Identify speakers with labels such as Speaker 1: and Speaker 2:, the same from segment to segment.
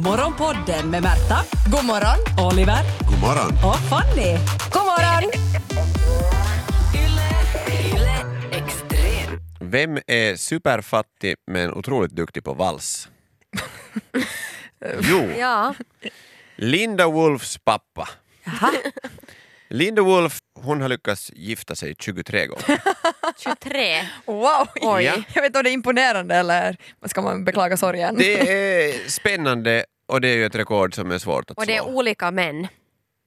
Speaker 1: Morgonpodden med Märta. God morgon. Oliver.
Speaker 2: God morgon.
Speaker 1: Och Fanny. God morgon.
Speaker 2: Vem är superfattig men otroligt duktig på vals? Jo,
Speaker 3: Ja.
Speaker 2: Linda Wolfs pappa. Linda Wolf, hon har lyckats gifta sig 23 gånger.
Speaker 3: 23.
Speaker 4: Wow!
Speaker 2: Oj. Ja.
Speaker 4: Jag vet inte om det är imponerande eller ska man beklaga sorgen?
Speaker 2: Det är spännande och det är ju ett rekord som är svårt att slå.
Speaker 3: Och det är olika män.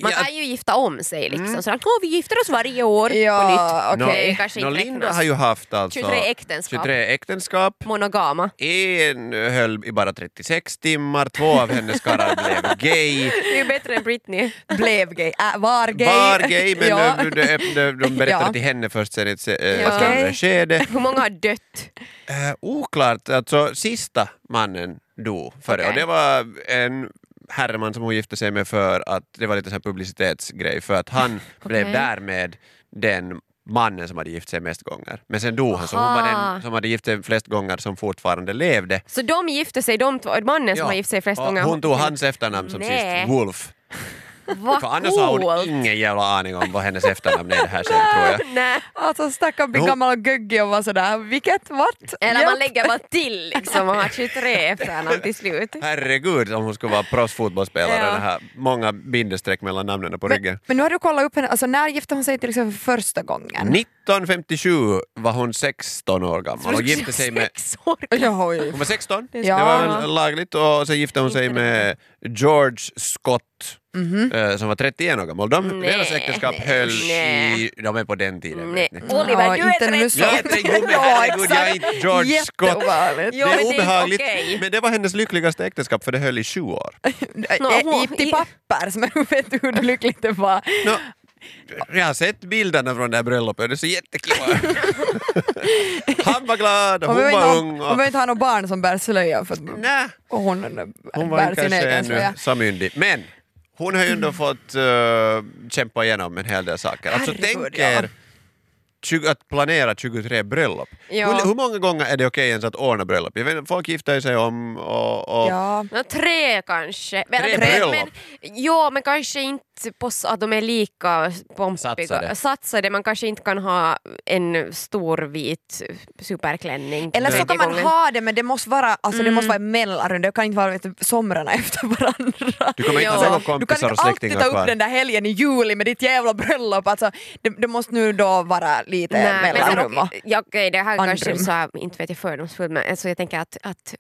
Speaker 3: Man
Speaker 2: Ja.
Speaker 3: kan ju gifta om sig liksom. Sådär, "Åh, vi gifter oss varje år på nytt.
Speaker 4: Mm. Ja,
Speaker 2: Nå,
Speaker 4: okej.
Speaker 3: Det kanske
Speaker 2: nå,
Speaker 3: inte
Speaker 2: Linda
Speaker 3: räknas.
Speaker 2: har ju haft alltså
Speaker 3: 23 äktenskap.
Speaker 2: 23 äktenskap.
Speaker 3: Monogama.
Speaker 2: En höll i bara 36 timmar, två av hennes karlar blev gay.
Speaker 3: Det är ju bättre än Britney.
Speaker 4: Blev gay. Äh, var gay.
Speaker 2: Var gay, men
Speaker 4: ja.
Speaker 2: de, de, de, de berättade
Speaker 4: Ja.
Speaker 2: till henne först sen i ett se- eh,
Speaker 3: Ja.
Speaker 2: senare
Speaker 4: Okej.
Speaker 2: skede.
Speaker 3: Hur många har dött?
Speaker 2: Eh, oklart, alltså sista mannen dog före
Speaker 3: Okej.
Speaker 2: och det var en herreman som hon gifte sig med för att det var lite så här publicitetsgrej för att han blev därmed den mannen som hade gift sig mest gånger. Men sen dog han så hon var
Speaker 3: Aha.
Speaker 2: den som hade gift sig flest gånger som fortfarande levde.
Speaker 3: Så de gifte sig, de två, mannen som har gift sig flest
Speaker 2: och
Speaker 3: gånger.
Speaker 2: Hon tog hans efternamn som
Speaker 3: Nej.
Speaker 2: sist, Wolf.
Speaker 3: Vad
Speaker 2: För annars har hon
Speaker 3: coolt!
Speaker 2: ingen jävla aning om vad hennes efternamn är det här sen tror jag.
Speaker 3: Nej.
Speaker 4: Alltså stackarn blir
Speaker 2: Jo.
Speaker 4: gammal och guggig och var sådär, vilket, vart?
Speaker 3: Eller man
Speaker 4: Japp.
Speaker 3: lägger bara till liksom och har 23 efternamn till slut.
Speaker 2: Herregud om hon skulle vara proffsfotbollsspelare,
Speaker 3: Ja.
Speaker 2: det här många bindestreck mellan namnen på ryggen.
Speaker 4: Men nu har du kollat upp henne, alltså när gifte hon sig till exempel för första gången?
Speaker 2: 1957 var hon 16 år gammal och gifte sig med...
Speaker 3: Sex år.
Speaker 4: Ja, oj.
Speaker 2: Hon var 16,
Speaker 4: Ja.
Speaker 2: det var väl lagligt, och sen gifte hon sig med George Scott eh, som var 31 år gammal. De,
Speaker 3: Mhm. Nej.
Speaker 2: deras äktenskap höll i... De är på den tiden,
Speaker 3: Nej.
Speaker 2: vet ni.
Speaker 3: Oliver,
Speaker 4: Ja,
Speaker 3: du är
Speaker 4: inte nu
Speaker 3: 30.
Speaker 4: så.
Speaker 2: Jag heter Jo, men
Speaker 4: Ja,
Speaker 2: herregud, jag är
Speaker 4: exakt.
Speaker 2: inte George Scott.
Speaker 4: Jätteovanligt.
Speaker 2: Det
Speaker 3: Ja, men det är
Speaker 2: är
Speaker 3: inte
Speaker 2: obehagligt,
Speaker 3: okej.
Speaker 2: men det var hennes lyckligaste äktenskap för det höll i 20 år.
Speaker 3: Nå,
Speaker 4: Äh,
Speaker 3: hon-
Speaker 4: i- Till papper, som jag vet du hur lyckligt det var.
Speaker 2: Nå, jag har sett bilderna från det här bröllopet, det är så jättekul. Han var glad och
Speaker 4: Hon
Speaker 2: hon
Speaker 4: behöver inte
Speaker 2: var
Speaker 4: ha-
Speaker 2: ung.
Speaker 4: hon
Speaker 2: Och...
Speaker 4: behöver inte ha något barn som bär slöja för att
Speaker 2: Nej.
Speaker 4: och hon,
Speaker 2: Hon var
Speaker 4: bär
Speaker 2: ju
Speaker 4: sin
Speaker 2: kanske
Speaker 4: egen
Speaker 2: ännu
Speaker 4: slöja.
Speaker 2: samyndig. Men hon har ju ändå fått eh, kämpa igenom en hel del saker. Alltså
Speaker 4: Herregud,
Speaker 2: tänk
Speaker 4: ja.
Speaker 2: er 20, att planera 23 bröllop.
Speaker 3: Ja.
Speaker 2: Hur, hur många gånger är det okej ens att ordna bröllop? Jag vet, inte, folk gifter sig om och... och
Speaker 4: Ja.
Speaker 3: Nå, tre kanske. Men,
Speaker 2: Tre
Speaker 3: men,
Speaker 2: bröllop.
Speaker 3: men, ja, men kanske inte på s- att de är lika pompiga.
Speaker 2: Satsade.
Speaker 3: Satsade. Man kanske inte kan ha en stor vit superklänning.
Speaker 4: Eller så
Speaker 3: tredje
Speaker 4: kan man
Speaker 3: gången. Mm.
Speaker 4: ha det men det måste vara, alltså, det måste vara en mellanrunda, det kan inte vara vet, du, somrarna efter varandra.
Speaker 2: Du kommer inte
Speaker 3: Ja.
Speaker 2: ha några
Speaker 4: Du
Speaker 2: kompisar
Speaker 4: kan
Speaker 2: och
Speaker 4: inte alltid ta
Speaker 2: släktingar
Speaker 4: upp
Speaker 2: kvar.
Speaker 4: den där helgen i juli med ditt jävla bröllop. Alltså, det, det måste nu då vara lite
Speaker 3: Nej, men alltså,
Speaker 4: mellanrum.
Speaker 3: sen,
Speaker 4: och-
Speaker 3: ja, okej, det här kanske är
Speaker 4: Andrum.
Speaker 3: så här, inte vet jag fördomsfull men alltså, jag tänker att, att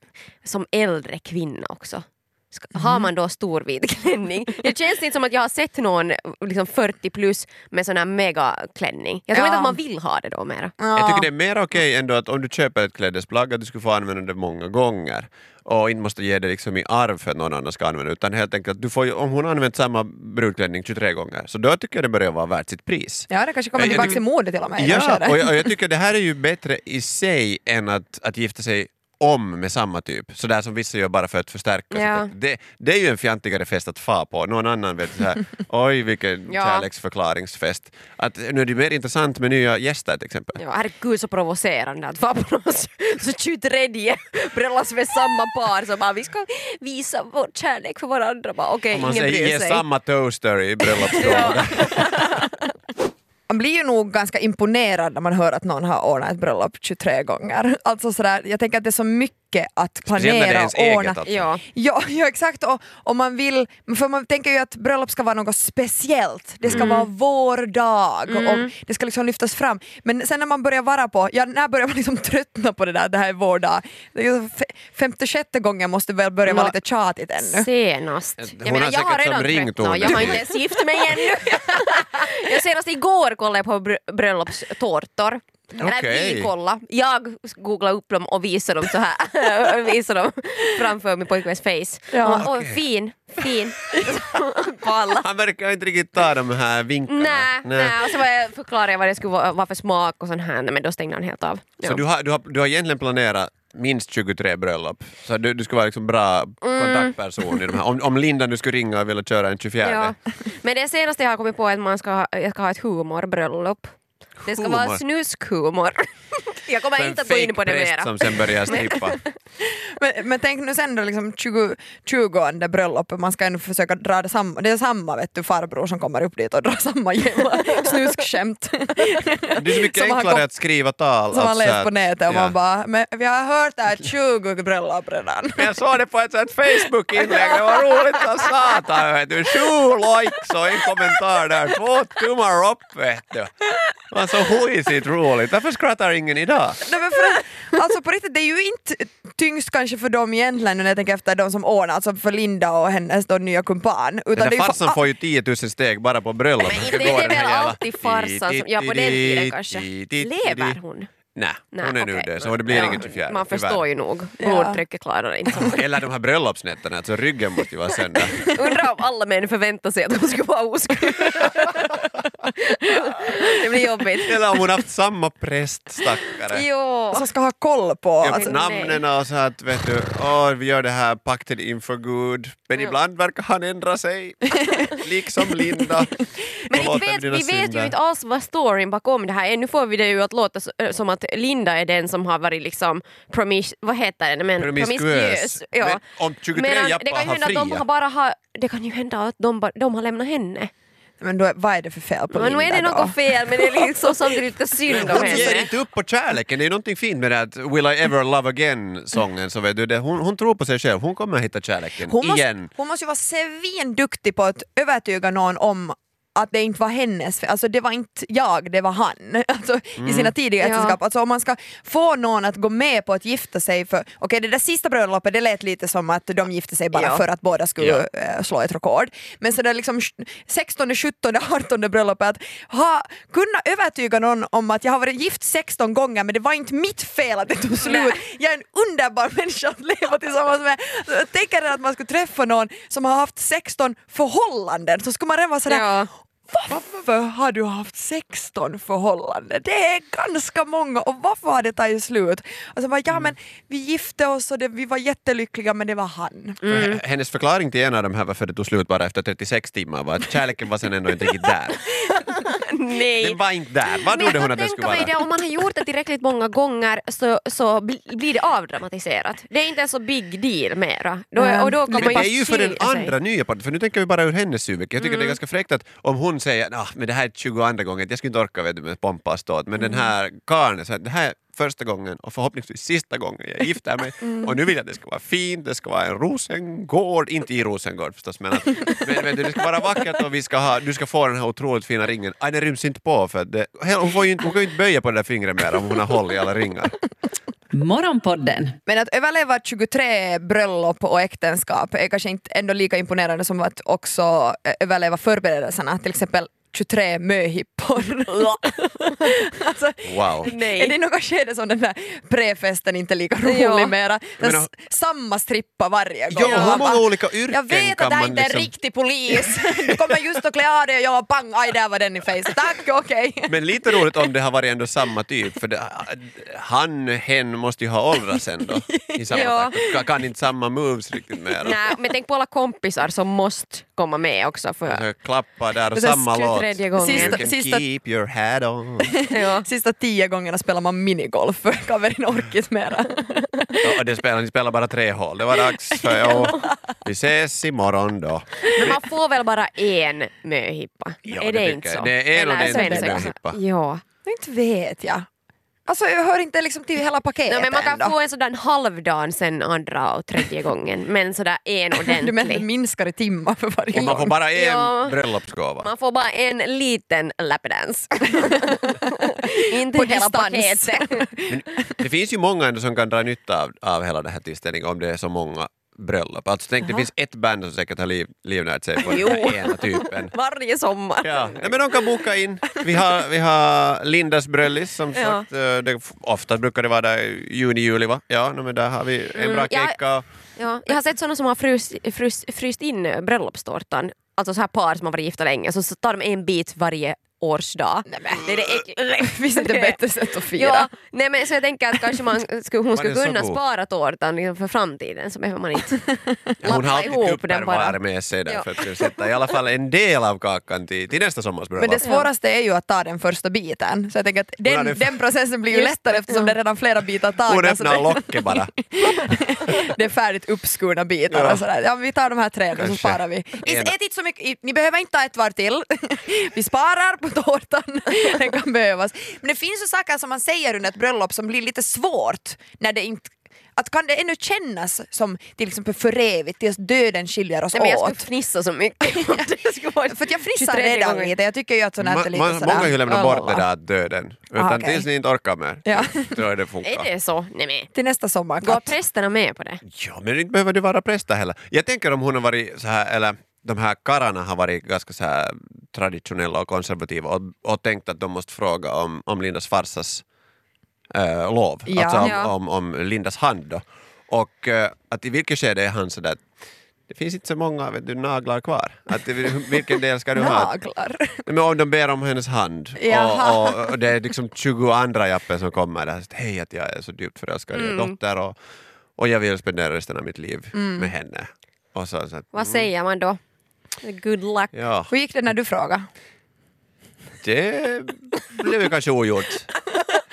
Speaker 3: som äldre kvinna också ska-
Speaker 4: Mm.
Speaker 3: har man då stor vit klänning? Det känns inte som att jag har sett någon liksom 40 plus med sån här megaklänning. Jag tror
Speaker 4: Ja.
Speaker 3: inte att man vill ha det då mera.
Speaker 2: Jag tycker det är mer okej ändå att om du köper ett klädesplagg att du ska få använda det många gånger och inte måste ge det liksom i arv för att någon annan ska använda det utan helt enkelt att du får, ju- om hon har använt samma brudklänning 23 gånger så då tycker jag det börjar vara värt sitt pris.
Speaker 4: Ja, det kanske kommer
Speaker 2: Jag- jag
Speaker 4: tillbaka
Speaker 2: tycker-
Speaker 4: till mode till och med. i det
Speaker 2: Ja,
Speaker 4: skedet.
Speaker 2: och jag, och jag tycker det här är ju bättre i sig än att, att gifta sig om med samma typ, sådär som vissa gör bara för att förstärka.
Speaker 3: Ja.
Speaker 2: sig. Det, det är ju en fjantigare fest att fa på, någon annan vet så här, oj vilken
Speaker 3: Ja.
Speaker 2: kärleksförklaringsfest. Att, nu är det mer intressant med nya gäster till exempel.
Speaker 3: Ja, herregud så provocerande att vara på någons så 23 bröllas med samma par som bara vi ska visa vår kärlek för varandra. Bara, Okej,
Speaker 2: Om man
Speaker 3: ingen
Speaker 2: säger
Speaker 3: bryr
Speaker 2: ge
Speaker 3: sig.
Speaker 2: samma toaster i bröllopsgåvan.
Speaker 4: Man blir ju nog ganska imponerad när man hör att någon har ordnat ett bröllop 23 gånger. Alltså sådär, jag tänker att det är så mycket att
Speaker 2: Speciellt när det är
Speaker 4: planera
Speaker 2: ens
Speaker 4: och ordna.
Speaker 2: eget. Alltså.
Speaker 3: Ja.
Speaker 4: Ja, ja exakt. Och, och man vill, för man tänker ju att bröllop ska vara något speciellt. Det ska vara vår dag och det ska liksom lyftas fram. Men sen när man börjar vara på, ja när börjar man liksom tröttna på det där, det här är vår dag. Det är ju fe- Femte, sjätte gången måste väl börja vara
Speaker 3: Nå.
Speaker 4: lite tjatigt ännu.
Speaker 3: Senast.
Speaker 2: Hon
Speaker 3: Jag menar,
Speaker 2: har
Speaker 3: jag har
Speaker 2: säkert som
Speaker 3: redan
Speaker 2: rington.
Speaker 3: tröttnat. Jag har inte ens gift mig ännu. jag senast igår kollade jag på br- bröllopstårtor. Eller
Speaker 2: Okej.
Speaker 3: vi kollade. Jag googlade upp dem och visade dem så här. visade dem framför min pojkväns face.
Speaker 4: Ja.
Speaker 3: Och, och, fin, fin. på alla.
Speaker 2: Han verkar inte riktigt ta de här vinkarna.
Speaker 3: Nej, nej. Och så var jag, förklarade jag vad det skulle vara vara för smak och sånt här, men då stängde han helt av.
Speaker 2: Så
Speaker 3: Ja.
Speaker 2: du, har, du, har, du har egentligen planerat minst 23 bröllop. Så du, du ska vara liksom bra
Speaker 3: Mm.
Speaker 2: kontaktperson i de här. Om, om Linda nu skulle ringa och vilja köra en 24.
Speaker 3: Ja. Men det senaste jag har kommit på är att man ska, ha- jag ska ha ett humorbröllop. Det ska
Speaker 2: Humor.
Speaker 3: vara snuskhumor. Jag kommer inte att gå in på det
Speaker 2: präst
Speaker 3: mera.
Speaker 2: som sen börjar strippa.
Speaker 4: Men, men tänk nu sen då liksom 20, 20 bröllopet, man ska ändå försöka dra det samma, det är samma vet du farbror som kommer upp dit och drar samma jävla snuskskämt.
Speaker 2: Det är så mycket
Speaker 4: Som han
Speaker 2: enklare
Speaker 4: kom-
Speaker 2: att skriva tal.
Speaker 4: Som man
Speaker 2: alltså
Speaker 4: läst på
Speaker 2: att-
Speaker 4: nätet och
Speaker 2: ja.
Speaker 4: man bara, men vi har hört att 20 bröllop redan.
Speaker 2: Men jag såg det på ett sånt Facebook-inlägg, det var roligt som satan. Vet du. Sju likes och en kommentar där, två tummar upp vet du. Det var så hojsigt roligt. Varför skrattar ingen idag?
Speaker 4: Nej, men för att, alltså på riktigt, det är ju inte tyngst kanske för dem egentligen när jag tänker efter de som ordnar, alltså för Linda och hennes då nya kumpan. Utan
Speaker 2: Den
Speaker 4: det
Speaker 2: där
Speaker 4: är ju
Speaker 2: farsan
Speaker 4: för-
Speaker 2: får ju 10 000 steg bara på bröllop.
Speaker 3: Men
Speaker 2: Han
Speaker 3: inte
Speaker 2: ska
Speaker 3: det
Speaker 2: gå
Speaker 3: är
Speaker 2: den här
Speaker 3: väl
Speaker 2: jävla-
Speaker 3: alltid farsan som... Ja, på den tiden kanske. Lever hon?
Speaker 2: Nej,
Speaker 3: Nej,
Speaker 2: hon är nu
Speaker 3: okej.
Speaker 2: död så det blir
Speaker 3: Ja,
Speaker 2: ingen 24.
Speaker 3: Man förstår
Speaker 2: tyvärr.
Speaker 3: ju nog.
Speaker 4: Ja.
Speaker 3: Blodtrycket klarar det inte. så mycket.
Speaker 2: Eller de här bröllopsnätterna, alltså ryggen måste ju vara sönder.
Speaker 3: Undrar om alla män förväntar sig att hon skulle vara oskuld. det blir jobbigt.
Speaker 2: Eller om hon haft samma präst, stackare.
Speaker 3: Jo.
Speaker 4: som alltså, ska ha koll på.
Speaker 2: Ja,
Speaker 4: Alltså,
Speaker 2: namnen och så att vet du, åh, vi gör det här pakten inför Gud. Men ibland verkar han ändra sig, liksom Linda.
Speaker 3: Men
Speaker 2: Förlåt
Speaker 3: inte
Speaker 2: mig
Speaker 3: vet,
Speaker 2: för dina
Speaker 3: vi vet
Speaker 2: synder.
Speaker 3: ju inte alls vad storyn bakom det här är. Nu får vi det ju att låta s- ö, som att Linda är den som har varit liksom promis, vad heter det? Men,
Speaker 2: Promiskuös.
Speaker 3: Ja.
Speaker 2: Men om 23
Speaker 3: Medan
Speaker 2: jappar
Speaker 3: det kan ju
Speaker 2: har
Speaker 3: hända att de
Speaker 2: fria.
Speaker 3: har bara har, det kan ju hända att de, ba- de har lämnat henne.
Speaker 4: men då, vad är det för fel på
Speaker 3: Men nu
Speaker 4: Linda
Speaker 3: är det
Speaker 4: då?
Speaker 3: något fel men det är liksom samtidigt lite synd om
Speaker 2: Hon ger
Speaker 3: henne.
Speaker 2: inte upp på kärleken, det är någonting fint med det här Will I ever love again-sången. Så vet du, det, hon, hon tror på sig själv, hon kommer att hitta kärleken
Speaker 4: Hon måste,
Speaker 2: igen.
Speaker 4: hon måste ju vara svinduktig på att övertyga någon om att det inte var hennes fel, alltså det var inte jag, det var han. Alltså,
Speaker 2: Mm.
Speaker 4: I sina tidiga
Speaker 3: Ja.
Speaker 4: äktenskap. Alltså, om man ska få någon att gå med på att gifta sig för, okej det där sista bröllopet det lät lite som att de gifte sig bara
Speaker 3: Ja.
Speaker 4: för att båda skulle eh, slå ett rekord. Men så där liksom sj- 16, 17, 18 bröllopet, att ha, kunna övertyga någon om att jag har varit gift 16 gånger men det var inte mitt fel att det tog slut. Jag är en underbar människa att leva tillsammans med. Tänk er att man skulle träffa någon som har haft 16 förhållanden så skulle man redan vara sådär
Speaker 3: Ja.
Speaker 4: varför har du haft 16 förhållanden? Det är ganska många och varför har det tagit slut? Och så bara, ja
Speaker 3: Mm.
Speaker 4: men vi gifte oss och det, vi var jättelyckliga men det var han.
Speaker 3: Mm.
Speaker 2: H- Hennes förklaring till en av de här varför det tog slut bara efter 36 timmar var att kärleken var sen ändå inte riktigt där.
Speaker 3: Nej.
Speaker 2: Den var inte där, vad
Speaker 3: Men jag
Speaker 2: trodde hon
Speaker 3: kan
Speaker 2: att den skulle
Speaker 3: tänka
Speaker 2: vara?
Speaker 3: mig det, om man har gjort det tillräckligt många gånger så, så bli- blir det avdramatiserat. Det är inte en så big deal mera. Då,
Speaker 4: Mm.
Speaker 3: och då kan
Speaker 2: Men
Speaker 3: man
Speaker 2: det är ju för den
Speaker 3: skilja sig. Mm.
Speaker 2: andra nya parten, för nu tänker vi bara ur hennes synvinkel. Jag tycker det är ganska fräckt att om hon säger ah, men det här är 22 gången, jag skulle inte orka vet du, med pompa och ståt, men
Speaker 3: Mm.
Speaker 2: den här karln, är så här, det här är första gången och förhoppningsvis sista gången jag gifter mig
Speaker 3: Mm.
Speaker 2: och nu vill jag att det ska vara fint, det ska vara en rosengård, inte i rosengård förstås men, att, men vet du, det ska vara vackert och vi ska ha, du ska få den här otroligt fina ringen. Aj, den ryms inte på för att det, hon, får ju inte, hon kan ju inte böja på det där fingret mer om hon har håll i alla ringar.
Speaker 1: Morgonpodden
Speaker 4: Men att överleva 23 bröllop och äktenskap är kanske inte ändå lika imponerande som att också eh, överleva förberedelserna, till exempel 23 möhippor. alltså,
Speaker 2: Wow.
Speaker 3: Nej.
Speaker 4: Är det något skede som den där prefesten inte är lika rolig
Speaker 3: Ja.
Speaker 4: mera? Den
Speaker 2: Men,
Speaker 4: s- samma strippa varje gång.
Speaker 2: Ja,
Speaker 4: Man
Speaker 2: hur många
Speaker 4: bara,
Speaker 2: olika yrken
Speaker 4: Jag vet
Speaker 2: kan
Speaker 4: att jag
Speaker 2: man
Speaker 4: inte är
Speaker 2: liksom-
Speaker 4: riktig polis. Du kommer just att klä av dig och jag pang, aj där var den i face. Tack, okej.
Speaker 2: Men lite roligt om det har varit ändå samma typ, för det, han, hen måste ju ha åldrats ändå i samma
Speaker 3: Ja.
Speaker 2: takt. Kan- Kan inte samma moves riktigt mer.
Speaker 3: Nej, men tänk på alla kompisar som måste komma med också. För,
Speaker 2: Så Klappa där och
Speaker 4: Det är
Speaker 2: samma låt.
Speaker 3: tredje gången.
Speaker 2: You
Speaker 4: Sista-
Speaker 2: can
Speaker 4: sista-
Speaker 2: keep your hat on.
Speaker 3: ja.
Speaker 4: Sista tio gångerna spelar man minigolf för Kaverin orkis mera.
Speaker 2: Ja, och det spelar, ni spelar bara tre hål. Det var dags för... Ja. Vi ses imorgon då.
Speaker 3: Men man får väl bara en möhippa?
Speaker 2: Ja, det
Speaker 3: är det,
Speaker 2: tycker
Speaker 3: inte
Speaker 2: jag.
Speaker 3: så?
Speaker 2: Det är en
Speaker 3: Eller
Speaker 2: ordentlig
Speaker 3: så är det så.
Speaker 2: möhippa.
Speaker 3: Ja.
Speaker 4: Men Inte vet jag. Alltså jag hör inte liksom till hela paketet
Speaker 3: No, men man kan
Speaker 4: ändå.
Speaker 3: få en sådan halvdan sen andra och tredje gången, men sådär en
Speaker 4: Du menar det
Speaker 3: ordentlig.
Speaker 4: minskar i timmar för varje
Speaker 2: Och man får
Speaker 4: gång?
Speaker 2: bara en
Speaker 3: Ja.
Speaker 2: bröllopsgåva.
Speaker 3: Man får bara en liten lapdance. Inte
Speaker 4: På
Speaker 3: hela
Speaker 4: distans.
Speaker 3: paketet.
Speaker 2: Det finns ju många ändå som kan dra nytta av, av hela den här tillställningen om det är så många bröllop. Alltså tänk, det finns ett band som säkert har liv, livnärt sig på den här ena typen.
Speaker 3: Varje sommar.
Speaker 2: Ja, nej, men de kan boka in. Vi har, vi har Lindas bröllis som
Speaker 3: Ja.
Speaker 2: sagt. eh, Det, ofta brukar det vara där i juni, juli va? Ja, no, men där har vi en
Speaker 3: Mm,
Speaker 2: bra
Speaker 3: ja.
Speaker 2: kecka.
Speaker 3: Ja, jag har sett såna som har frys, eh, frys, fryst in bröllopstårtan, alltså så här par som har varit gifta länge, så, så tar de en bit varje årsdag. Det är det äckliga.
Speaker 4: Finns det inte bättre sätt att fira?
Speaker 3: Ja, nej men så jag tänker att kanske man skulle, hon skulle
Speaker 2: är så
Speaker 3: kunna
Speaker 2: god.
Speaker 3: spara tårtan liksom för framtiden så behöver man inte
Speaker 2: Hon har
Speaker 3: lappa
Speaker 2: alltid
Speaker 3: ihop den
Speaker 2: tupperware
Speaker 3: bara.
Speaker 2: med sig där
Speaker 3: Ja.
Speaker 2: för att kunna sätta i alla fall en del av kakan till, till nästa sommars
Speaker 4: Men
Speaker 2: bröllop.
Speaker 4: det svåraste är ju att ta den första biten, så jag tänker att
Speaker 2: Hon
Speaker 4: den,
Speaker 2: hade-
Speaker 4: den processen blir ju
Speaker 3: Just
Speaker 4: lättare eftersom det är redan flera bitar
Speaker 2: Hon
Speaker 4: tagna. så
Speaker 2: öppnar
Speaker 4: alltså det-
Speaker 2: locket bara.
Speaker 4: det är färdigt uppskurna bitar
Speaker 2: Ja.
Speaker 4: och sådär. Ja, men vi tar de här tre och så
Speaker 2: Kanske.
Speaker 4: sparar vi. Is,
Speaker 2: Ena.
Speaker 4: ät inte så mycket, i- ni behöver inte ta ett var till. Vi sparar på tårtan, den kan behövas. Men det finns ju saker som man säger under ett bröllop som blir lite svårt när det inte att kan det ännu kännas som till exempel för evigt tills döden skiljer oss
Speaker 3: Nej, men jag skulle
Speaker 4: åt?
Speaker 3: fnissa så mycket. Det skulle vara
Speaker 4: För att jag frissar
Speaker 3: 23
Speaker 4: redan
Speaker 3: gånger.
Speaker 4: lite, jag tycker ju att sånt här är
Speaker 2: Ma-
Speaker 4: lite
Speaker 2: man,
Speaker 4: sådär.
Speaker 2: många har ju lämnat bort det
Speaker 4: lalala.
Speaker 2: där att döden. Utan
Speaker 4: Ah, okej.
Speaker 2: tills ni inte orkar mer.
Speaker 4: Ja.
Speaker 2: Då är det funkar.
Speaker 3: Är det så? Nej men.
Speaker 4: Till nästa sommar,
Speaker 3: Går
Speaker 4: Kat.
Speaker 3: prästerna med på det?
Speaker 2: Ja, men inte behöver du vara präster heller. Jag tänker om hon har varit så här, eller de här karlarna har varit ganska så här traditionella och konservativa och, och tänkt att de måste fråga om, om Lindas farsas eh, lov,
Speaker 4: Ja.
Speaker 2: alltså om,
Speaker 3: Ja.
Speaker 2: om, om Lindas hand då. Och eh, att i vilket skede är han sådär att det finns inte så många vet du, naglar kvar. Att, det- vilken del ska du ha?
Speaker 4: Naglar.
Speaker 2: Men om de ber om hennes hand
Speaker 4: Jaha.
Speaker 2: och, och, och det är liksom 20 andra jappen som kommer där. Så, Hej att jag är så djupt förälskad i er dotter och, och jag vill spendera resten av mitt liv med henne. Och så, så att,
Speaker 3: Vad säger man då? Good luck.
Speaker 2: ja,
Speaker 4: Hur gick det när du frågade?
Speaker 2: det blev ju kanske ogjort.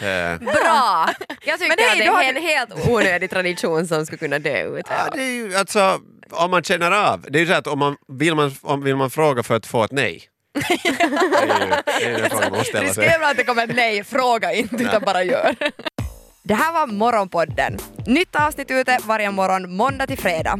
Speaker 2: Eh,
Speaker 3: Bra! Jag tycker
Speaker 4: Men hej,
Speaker 3: att det
Speaker 4: då har
Speaker 3: är en helt onödig tradition som skulle kunna dö ut.
Speaker 2: ja, det är ju, alltså, om man känner av, det är ju så att om man, vill, man, om, vill man fråga för att få ett nej. det är ju det är ju den frågan man måste ställa sig.
Speaker 4: Riskerar att det kommer ett nej, fråga inte utan bara gör. Det här var Morgonpodden. Nytt avsnitt ute varje morgon måndag till fredag.